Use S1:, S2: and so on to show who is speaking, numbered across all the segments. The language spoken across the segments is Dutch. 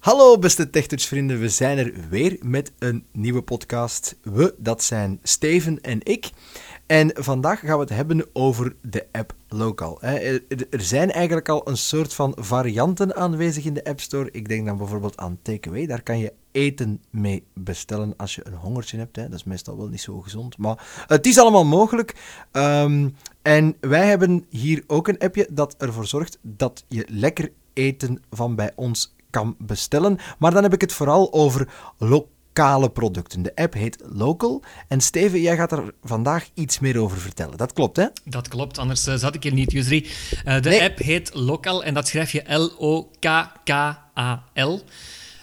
S1: Hallo beste TechTouch-vrienden, we zijn er weer met een nieuwe podcast. We, dat zijn Steven en ik. En vandaag gaan we het hebben over de app Local. hè. Er, er- er zijn eigenlijk al een soort van varianten aanwezig in de App Store. Ik denk dan bijvoorbeeld aan Takeaway. Daar kan je eten mee bestellen als je een hongertje hebt. Hè. Dat is meestal wel niet zo gezond, maar het is allemaal mogelijk. Ehm, en wij hebben hier ook een appje dat ervoor zorgt dat je lekker eten van bij ons kan bestellen. Maar dan heb ik het vooral over lokale producten. De app heet Local. En Steven, jij gaat er vandaag iets meer over vertellen. Dat klopt, hè?
S2: Dat klopt, anders eh, zat ik hier niet, Yusri. Eh, de
S1: Nee.
S2: app heet Lokal en dat schrijf je L-O-K-K-A-L. Eh,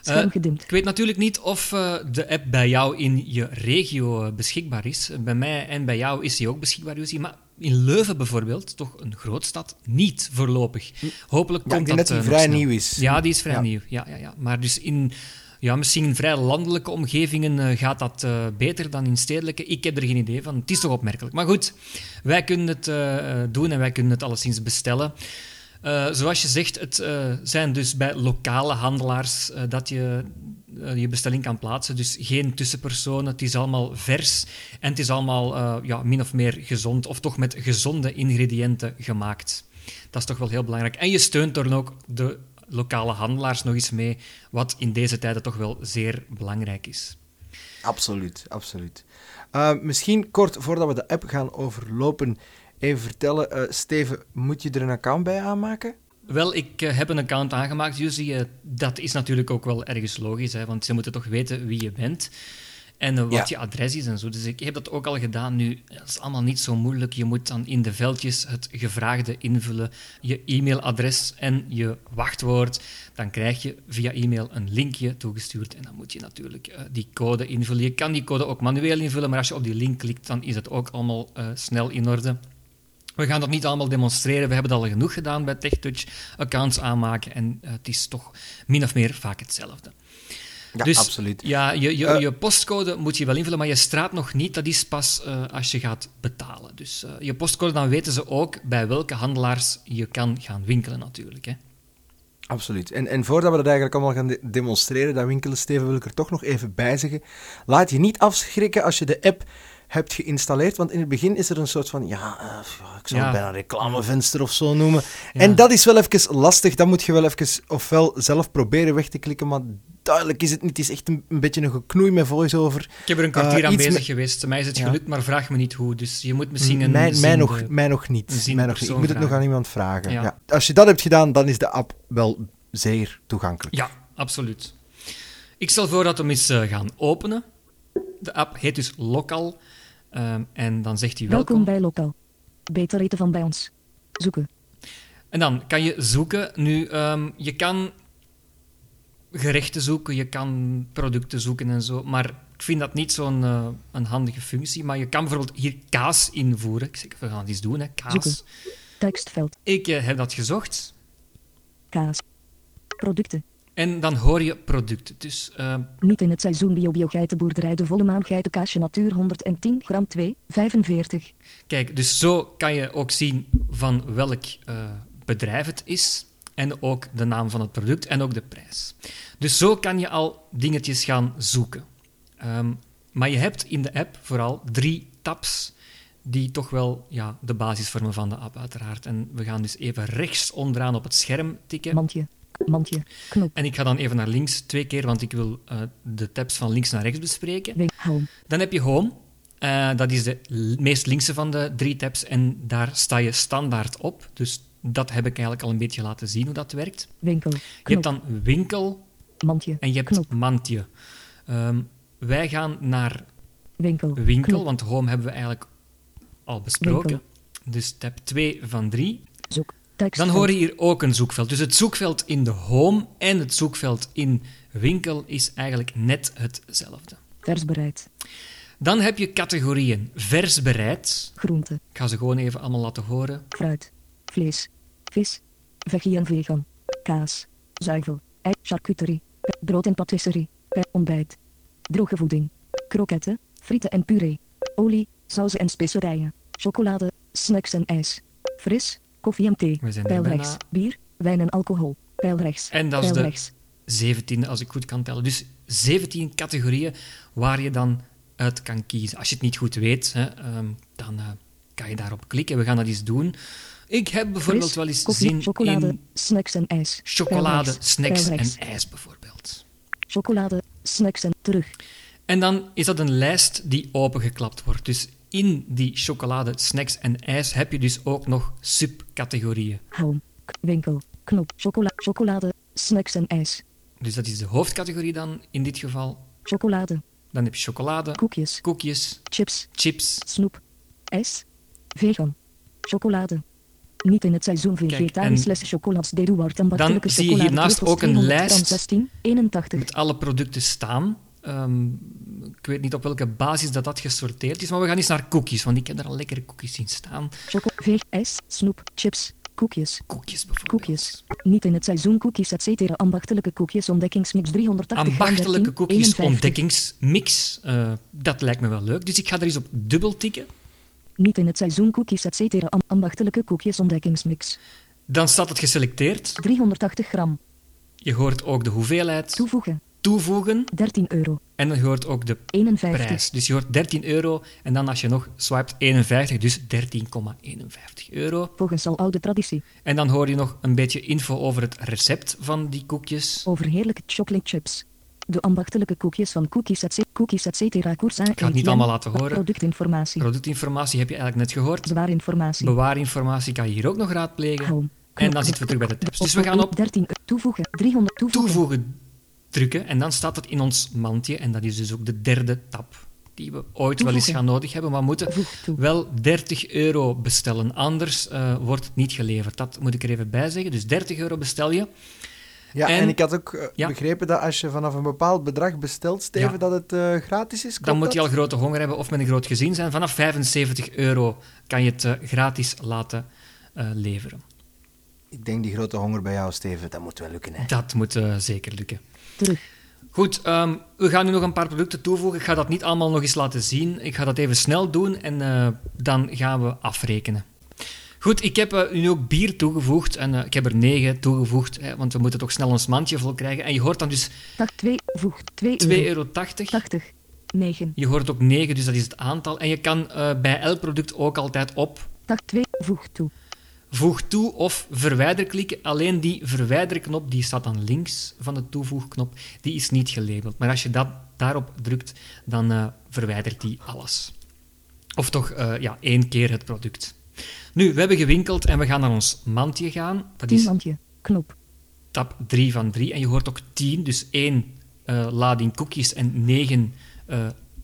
S3: Schermgedimd.
S2: ik weet natuurlijk niet of eh, de app bij jou in je regio eh, beschikbaar is. Bij mij en bij jou is die ook beschikbaar, Yusri. Maar in Leuven bijvoorbeeld, toch een grootstad, niet voorlopig. Hopelijk
S1: Ja, ik
S2: komt
S1: denk dat
S2: dat
S1: die
S2: eh, nog
S1: vrij
S2: snel.
S1: nieuw is.
S2: Ja, die is vrij
S1: Ja.
S2: nieuw. Ja, ja, ja. Maar dus in ja, misschien in vrij landelijke omgevingen eh, gaat dat eh, beter dan in stedelijke. Ik heb er geen idee van. Het is toch opmerkelijk. Maar goed, wij kunnen het eh, eh, doen en wij kunnen het alleszins bestellen. Eh, zoals je zegt, het eh, zijn dus bij lokale handelaars eh, dat je eh, je bestelling kan plaatsen. Dus geen tussenpersonen. Het is allemaal vers en het is allemaal eh, ja, min of meer gezond, of toch met gezonde ingrediënten gemaakt. Dat is toch wel heel belangrijk. En je steunt dan ook de lokale handelaars nog eens mee, wat in deze tijden toch wel zeer belangrijk is.
S1: Absoluut, absoluut. Eh, misschien kort voordat we de app gaan overlopen, even vertellen. eh, Steven, moet je er een account bij aanmaken?
S2: Wel, ik eh, heb een account aangemaakt, Jussi. Eh, dat is natuurlijk ook wel ergens logisch, hè, want ze moeten toch weten wie je bent en eh, wat je adres is en zo. Dus ik heb dat ook al gedaan nu. Dat is allemaal niet zo moeilijk. Je moet dan in de veldjes het gevraagde invullen, je e-mailadres en je wachtwoord. Dan krijg je via e-mail een linkje toegestuurd en dan moet je natuurlijk eh, die code invullen. Je kan die code ook manueel invullen, maar als je op die link klikt, dan is het ook allemaal eh, snel in orde. We gaan dat niet allemaal demonstreren. We hebben dat al genoeg gedaan bij TechTouch. Accounts aanmaken en eh, het is toch min of meer vaak hetzelfde.
S1: Ja,
S2: dus,
S1: absoluut.
S2: Ja, je, je,
S1: Eh.
S2: je postcode moet je wel invullen, maar je straat nog niet. Dat is pas eh, als je gaat betalen. Dus eh, je postcode, dan weten ze ook bij welke handelaars je kan gaan winkelen natuurlijk. Hè.
S1: Absoluut. En, en voordat we dat eigenlijk allemaal gaan de- demonstreren, dat winkelen, Steven, wil ik er toch nog even bij zeggen. Laat je niet afschrikken als je de app hebt geïnstalleerd, want in het begin is er een soort van, ja, eh, ja, ik zou
S2: Ja.
S1: het bijna reclamevenster of zo noemen.
S2: Ja.
S1: En dat is wel even lastig, dan moet je wel even ofwel zelf proberen weg te klikken, maar duidelijk is het niet. Het is echt een, een beetje een geknoei met voice-over.
S2: Ik heb er een kwartier
S1: Eh,
S2: aan
S1: iets
S2: bezig
S1: me-
S2: geweest. Mij is het
S1: Ja.
S2: gelukt, maar vraag me niet hoe. Dus je moet misschien een...
S1: Mij, mij,
S2: zin
S1: nog,
S2: de-
S1: mij nog niet.
S2: zin
S1: Mij nog niet. Ik
S2: persoon
S1: moet het nog
S2: vragen.
S1: aan iemand vragen. Ja.
S2: Ja.
S1: Als je dat hebt gedaan, dan is de app wel zeer toegankelijk.
S2: Ja, absoluut. Ik stel voor dat we hem eens eh, gaan openen. De app heet dus Lokal. ehm, en dan zegt hij welkom.
S3: Welkom bij Lokaal. Beter eten van bij ons. Zoeken.
S2: En dan kan je zoeken. Nu, ehm, je kan gerechten zoeken, je kan producten zoeken en zo. Maar ik vind dat niet zo'n eh, een handige functie. Maar je kan bijvoorbeeld hier kaas invoeren. Ik zeg, we gaan iets doen, hè. Kaas.
S3: Zoeken. Tekstveld.
S2: Ik eh, heb dat gezocht.
S3: Kaas. Producten.
S2: En dan hoor je producten. Dus ehm,
S3: Niet in het seizoen bio bio geitenboerderij de volle maan geitenkaasje natuur 110 gram 2, 45.
S2: Kijk, dus zo kan je ook zien van welk eh, bedrijf het is. En ook de naam van het product en ook de prijs. Dus zo kan je al dingetjes gaan zoeken. Ehm, maar je hebt in de app vooral drie tabs die toch wel ja, de basis vormen van de app uiteraard. En we gaan dus even rechts onderaan op het scherm tikken.
S3: Mandje. Mandje. Knop.
S2: En ik ga dan even naar links twee keer, want ik wil eh, de tabs van links naar rechts bespreken.
S3: Win. Home.
S2: Dan heb je Home. Eh, dat is de l- meest linkse van de drie tabs. En daar sta je standaard op. Dus dat heb ik eigenlijk al een beetje laten zien hoe dat werkt.
S3: Winkel.
S2: Je hebt
S3: Knop.
S2: dan Winkel
S3: Mandje.
S2: en je hebt
S3: Knop.
S2: Mandje. Ehm, wij gaan naar
S3: Winkel.
S2: Winkel,
S3: Knop.
S2: want Home hebben we eigenlijk al besproken.
S3: Winkel.
S2: Dus tab 2 van 3.
S3: Zoek. Tekst.
S2: Dan hoor je hier ook een zoekveld. Dus het zoekveld in de Home en het zoekveld in Winkel is eigenlijk net hetzelfde.
S3: Vers bereid.
S2: Dan heb je categorieën vers bereid.
S3: Groente.
S2: Ik ga ze gewoon even allemaal laten horen.
S3: Fruit. Vlees. Vis. Veggie en vegan. Kaas. Zuivel. Ei. Charcuterie. Pe- Brood en patisserie. Pe- Ontbijt. Droge voeding. Kroketten. Frieten en puree. Olie. Sauzen en specerijen. Chocolade. Snacks en ijs. Fris. Koffie en thee.
S2: We zijn er
S3: Pijlrechts.
S2: bijna.
S3: Bier. Wijn en alcohol. Pijlrechts.
S2: En dat is de
S3: Pijlrechts.
S2: 17, als ik goed kan tellen. Dus 17 categorieën waar je dan uit kan kiezen. Als je het niet goed weet, hè, um, dan uh, kan je daarop klikken. We gaan dat eens doen. Ik heb bijvoorbeeld
S3: Fris,
S2: wel eens
S3: koffie,
S2: zin
S3: chocolade,
S2: in
S3: snacks en ijs.
S2: chocolade,
S3: Pijlrechts,
S2: snacks en
S3: pijlrechts.
S2: ijs bijvoorbeeld.
S3: Chocolade, snacks en terug.
S2: En dan is dat een lijst die opengeklapt wordt. Dus in die chocolade, snacks en ijs heb je dus ook nog subcategorieën.
S3: Home. K- winkel. Knop. Chocola chocolade, snacks en ijs.
S2: Dus dat is de hoofdcategorie dan in dit geval.
S3: Chocolade,
S2: Dan heb je chocolade,
S3: koekjes,
S2: koekjes,
S3: chips,
S2: chips.
S3: snoep, ijs, vegan, chocolade. Niet in het seizoen
S2: Kijk,
S3: vegetarisch
S2: en-
S3: les chocolades de Duarte en
S2: Dan zie je hiernaast ook een lijst.
S3: 16, 81.
S2: met alle producten staan. Ehm, ik weet niet op welke basis dat, dat gesorteerd is, maar we gaan eens naar cookies, want ik heb daar al lekkere cookies zien staan.
S3: Choco, veeg, ijs, snoep, chips, koekjes.
S2: Koekjes bijvoorbeeld.
S3: Koekjes. Niet in het seizoen koekjes, etc. Ambachtelijke koekjes, ontdekkingsmix 380 gram,
S2: Ambachtelijke
S3: 13,
S2: koekjes,
S3: 51.
S2: ontdekkingsmix. Eh, dat lijkt me wel leuk. Dus ik ga er eens op dubbel tikken.
S3: Niet in het seizoen koekjes, etc. Am- ambachtelijke koekjes, ontdekkingsmix.
S2: Dan staat het geselecteerd.
S3: 380 gram.
S2: Je hoort ook de hoeveelheid
S3: Toevoegen.
S2: toevoegen
S3: 13 euro.
S2: en dan hoort ook de
S3: 51.
S2: prijs. Dus je hoort 13 euro en dan als je nog swipet 51, dus 13,51 euro.
S3: Volgens al oude traditie.
S2: En dan hoor je nog een beetje info over het recept van die koekjes.
S3: Over heerlijke chocolate chips. De ambachtelijke koekjes van Cookies etc. Cookies etc. Koers Ik
S2: ga het niet allemaal laten horen.
S3: Productinformatie.
S2: Productinformatie heb je eigenlijk net gehoord.
S3: Bewaarinformatie.
S2: Bewarinformatie kan je hier ook nog raadplegen.
S3: Home.
S2: En dan
S3: Knop.
S2: zitten we terug bij de tabs.
S3: Op-
S2: Dus we gaan op
S3: 13 euro. toevoegen. 300 toevoegen.
S2: toevoegen drukken en dan staat dat in ons mandje. En dat is dus ook de derde tab die we ooit wel eens
S3: Toevoegen.
S2: gaan nodig hebben. Maar we moeten
S3: Voeg toe.
S2: wel 30 euro bestellen, anders eh, wordt het niet geleverd. Dat moet ik er even bij zeggen. Dus 30 euro bestel je.
S1: Ja, en,
S2: En-
S1: ik had ook eh,
S2: Ja.
S1: begrepen dat als je vanaf een bepaald bedrag bestelt, Steven,
S2: Ja.
S1: dat het eh, gratis is.
S2: Dan
S1: klopt
S2: moet je
S1: dat?
S2: al grote honger hebben of met een groot gezin zijn. Vanaf 75 euro kan je het eh, gratis laten eh, leveren.
S1: Ik denk die grote honger bij jou, Steven, dat moet wel lukken. Hè?
S2: Dat moet eh, zeker lukken.
S3: Terug.
S2: Goed, ehm, we gaan nu nog een paar producten toevoegen. Ik ga dat niet allemaal nog eens laten zien. Ik ga dat even snel doen en eh, dan gaan we afrekenen. Goed, ik heb eh, nu ook bier toegevoegd en eh, ik heb er negen toegevoegd, hè, want we moeten toch snel ons mandje vol krijgen. En je hoort dan dus
S3: 8, 2. Voeg. 2
S2: 2,80
S3: euro.
S2: euro.
S3: 80. 9.
S2: Je hoort ook 9, dus dat is het aantal. En je kan eh, bij elk product ook altijd op
S3: 8, 2. Voeg toe.
S2: voeg toe of verwijder klikken. Alleen die verwijderknop, die staat dan links van de toevoegknop, die is niet gelabeld. Maar als je dat, daarop drukt, dan eh, verwijdert die alles. Of toch eh, ja, één keer het product. Nu, we hebben gewinkeld en we gaan naar ons mandje gaan. Dat
S3: 10
S2: is
S3: mandje. Knop.
S2: tab 3 van 3. En je hoort ook 10, dus één eh, lading koekjes en 9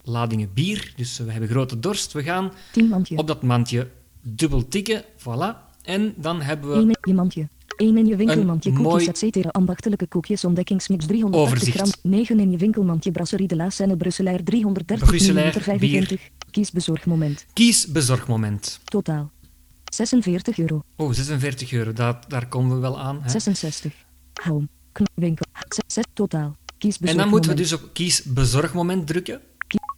S2: ladingen bier. Dus we hebben grote dorst. We gaan
S3: 10 mandje.
S2: op dat mandje dubbel tikken. Voilà. En dan hebben we
S3: 1 in je mandje. 1 in je winkelmandje.
S2: Een
S3: Koekjes,
S2: mooi-
S3: etc. Ambachtelijke koekjes. Ontdekkingsmix 380
S2: Overzicht.
S3: gram. 9 in je winkelmandje. Brasserie de La Seine Brusselair 330
S2: Brusselair,
S3: milliliter, 25. Kies bezorgmoment.
S2: Kies bezorgmoment.
S3: Totaal. 46 euro.
S2: Oh, 46 euro, daar, daar komen we wel aan. Hè?
S3: 66. Home. Kn- winkel. Zet, zet totaal. Kies
S2: En
S3: bezorgmoment.
S2: dan moeten we dus op kies bezorgmoment drukken.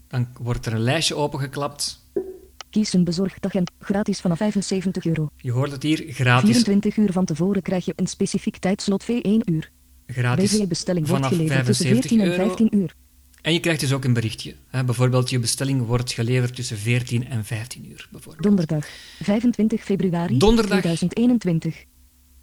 S2: Dan wordt er een lijstje opengeklapt. dus
S3: Kies een bezorgdagent. Gratis vanaf 75 euro.
S2: Je hoort het hier, gratis.
S3: 24 uur van tevoren krijg je een specifiek tijdslot V1 uur.
S2: gratis
S3: BV bestelling wordt
S2: vanaf
S3: geleverd tussen
S2: 75
S3: 14 en
S2: euro.
S3: 15 uur.
S2: En je krijgt dus ook een berichtje. Hè? Bijvoorbeeld, je bestelling wordt geleverd tussen 14 en 15 uur. Bijvoorbeeld.
S3: Donderdag. 25 februari
S2: Donderdag.
S3: 2021.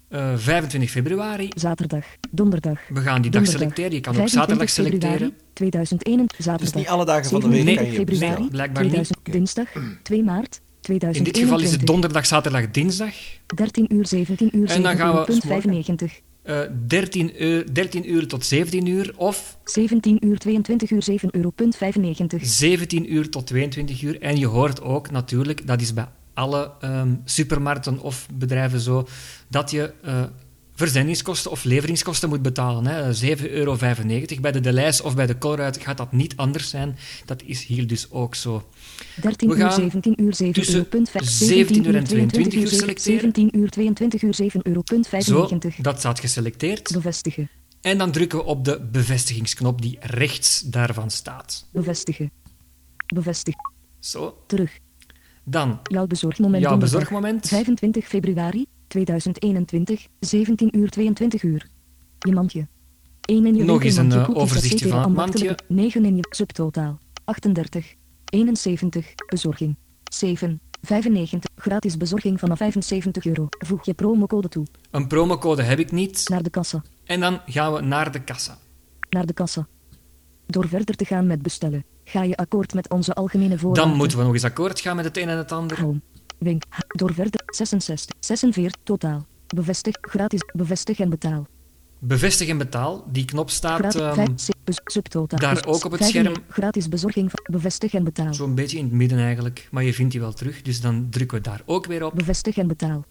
S2: Eh, 25 februari.
S3: Zaterdag. Donderdag.
S2: We gaan die dag
S3: Donderdag.
S2: selecteren. Je kan ook
S3: 25
S2: zaterdag
S3: februari
S2: selecteren.
S3: 2001, zaterdag.
S1: Dus niet alle dagen van de week
S3: 27
S1: kan je
S3: februari,
S2: bestellen. Blijkbaar niet.
S3: 2000, Dinsdag, 2 maart,
S2: In
S3: 2021.
S2: dit geval is het donderdag, zaterdag, dinsdag.
S3: 13 uur, 17 uur,
S2: En dan gaan we
S3: 17
S2: s morgen-
S3: 95.
S2: Eh, 13, uur, 13 uur tot 17 uur. Of
S3: 17 uur, 22 uur, 7 euro, punt 95.
S2: 17 uur tot 22 uur. En je hoort ook natuurlijk, dat is bij alle ehm, supermarkten of bedrijven zo, dat je eh, verzendingskosten of leveringskosten moet betalen. hè. 7,95 euro. Bij de Delijs of bij de Colruyt gaat dat niet anders zijn. Dat is hier dus ook zo.
S3: 13
S2: We
S3: uur,
S2: gaan
S3: 17 uur, 7
S2: tussen
S3: euro, punt 5.
S2: 17 uur en 22 uur
S3: 17 uur, 22 uur, 7 euro, punt
S2: Zo,
S3: 95.
S2: dat staat geselecteerd.
S3: Bevestigen,
S2: En dan drukken we op de bevestigingsknop die rechts daarvan staat.
S3: bevestigen. Bevestig,
S2: Zo,
S3: terug.
S2: dan
S3: Jouw bezorgmoment.
S2: Jouw
S3: donderdag,
S2: bezorgmoment.
S3: 25 februari 2021, 17 uur, 22 uur. Je mandje. 1 in je
S2: Nog eens een,
S3: winkelmandje,
S2: eh,
S3: koekjes,
S2: overzichtje
S3: etc.
S2: van het
S3: ambachtelijke. 9 in je subtotaal. 38. 71. Bezorging. 7. 95. Gratis bezorging vanaf 75 euro. Voeg je promocode toe.
S2: Een promocode heb ik niet.
S3: Naar de kassa.
S2: En dan gaan we naar de kassa.
S3: Naar de kassa. Door verder te gaan met bestellen, ga je akkoord met onze algemene voorwaarden.
S2: Dan moeten we nog eens akkoord gaan met het een en het ander.
S3: Home. Wink. Door verder. 66. 46. Totaal. Bevestig. Gratis. Bevestig en betaal.
S2: Bevestig en betaal. Die knop staat
S3: Gratis.
S2: ehm,
S3: vijf- se- bes- subtotaal.
S2: daar
S3: Dus
S2: ook op het
S3: 95.
S2: scherm.
S3: Gratis bezorging. van- Bevestig en betaal.
S2: zo'n beetje in het midden eigenlijk. Maar je vindt die wel terug, dus dan drukken we daar ook weer op.
S3: Bevestig en betaal.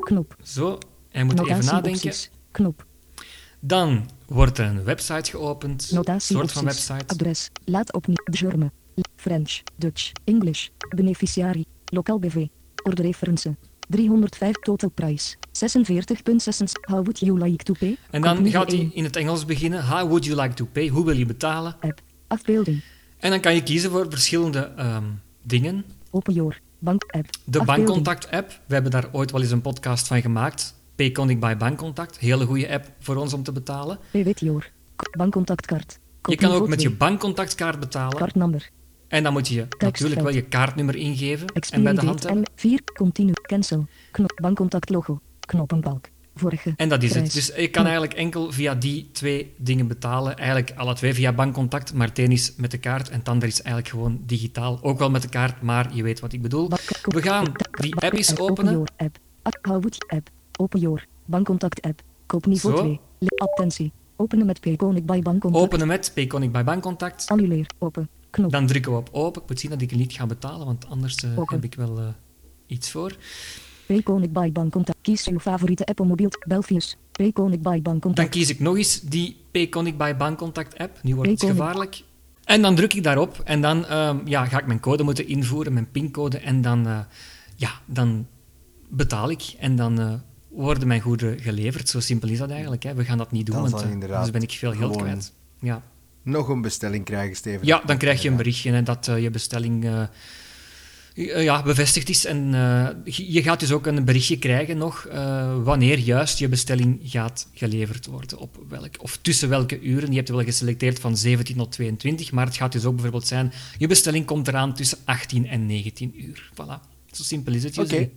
S3: Knop.
S2: Zo, en moet even nadenken.
S3: Notatieopties. Knop.
S2: Dan wordt er een website geopend. Een
S3: Notatie.
S2: soort van
S3: opties.
S2: website.
S3: Adres. Laat opnieuw. German. French. Dutch. English. Beneficiari. Lokaal BV. Order reference. 305 total price. 46.6. How would you like to pay?
S2: En dan
S3: Knop
S2: gaat hij
S3: 1.
S2: in het Engels beginnen. How would you like to pay? Hoe wil je betalen?
S3: App. Afbeelding.
S2: En dan kan je kiezen voor verschillende ehm, dingen.
S3: Open your. Bank app.
S2: De
S3: Afbeelding.
S2: Bankcontact-app. We hebben daar ooit wel eens een podcast van gemaakt. Payconic by Bankcontact. Hele goede app voor ons om te betalen.
S3: Payment your. Bankcontactkaart.
S2: Je kan ook met je bankcontactkaart betalen.
S3: Kaartnummer.
S2: En dan moet je natuurlijk wel je kaartnummer ingeven en bij de hand
S3: en
S2: hebben.
S3: 4 continue cancel knop bankcontact logo knoppenbalk vorige
S2: En dat is het.
S3: prijs.
S2: Dus je kan eigenlijk enkel via die twee dingen betalen. Eigenlijk alle twee via bankcontact, maar het een is met de kaart en het ander is eigenlijk gewoon digitaal. Ook wel met de kaart, maar je weet wat ik bedoel.
S3: Bank-
S2: We gaan
S3: contact-
S2: die
S3: bank-
S2: app eens
S3: app,
S2: openen.
S3: your app App, Howwood app open your bankcontact app koop niveau
S2: Zo.
S3: 2 Le- attentie openen met Payconic bij bankcontact
S2: Openen met Payconic bij bankcontact.
S3: annuleer open knop
S2: Dan drukken we op open. Ik moet zien dat ik niet ga betalen, want anders eh,
S3: Open.
S2: heb ik wel eh, iets voor.
S3: Payconic bij bankcontact kies uw favoriete app op mobiel Belfius Payconic bij
S2: Dan
S3: bankcontact
S2: kies ik nog eens die Payconic by Bankcontact app. Nu wordt het
S3: Payconic.
S2: gevaarlijk. En dan druk ik daarop en dan ehm, ja, ga ik mijn code moeten invoeren, mijn pincode. En dan, eh, ja, dan betaal ik en dan eh, worden mijn goederen geleverd. Zo simpel is dat eigenlijk. Hè. We gaan dat niet doen,
S1: Dan
S2: want
S1: zal je
S2: eh,
S1: inderdaad
S2: anders ben ik veel geld
S1: gewoon-
S2: kwijt. Ja.
S1: Nog een bestelling krijgen, Steven.
S2: ja, dan krijg je een berichtje hè, dat eh, je bestelling eh, eh, ja, bevestigd is. En eh, je je gaat dus ook een berichtje krijgen nog eh, wanneer juist je bestelling gaat geleverd worden. Op welk, of tussen welke uren. Je hebt wel geselecteerd van 17 tot 22, maar het gaat dus ook bijvoorbeeld zijn, je bestelling komt eraan tussen 18 en 19 uur. Voilà, zo simpel is het.
S1: Oké.
S2: Josie.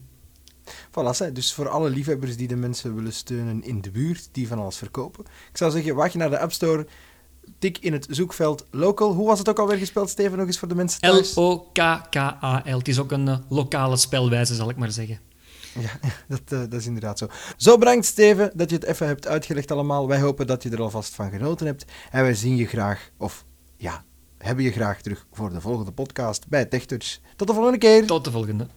S1: Voilà, zeg, dus voor alle liefhebbers die de mensen willen steunen in de buurt, die van alles verkopen. Ik zou zeggen, wacht je naar de App Store, tik in het zoekveld local. Hoe was het ook alweer gespeld, Steven, nog eens voor de mensen thuis?
S2: L-O-K-K-A-L. Het is ook een eh, lokale spelwijze, zal ik maar zeggen.
S1: Ja, dat, eh, dat is inderdaad zo. Zo bedankt, Steven, dat je het even hebt uitgelegd allemaal. Wij hopen dat je er alvast van genoten hebt. En wij zien je graag, of ja, hebben je graag terug voor de volgende podcast bij TechTouch. Tot de volgende keer!
S2: Tot de volgende.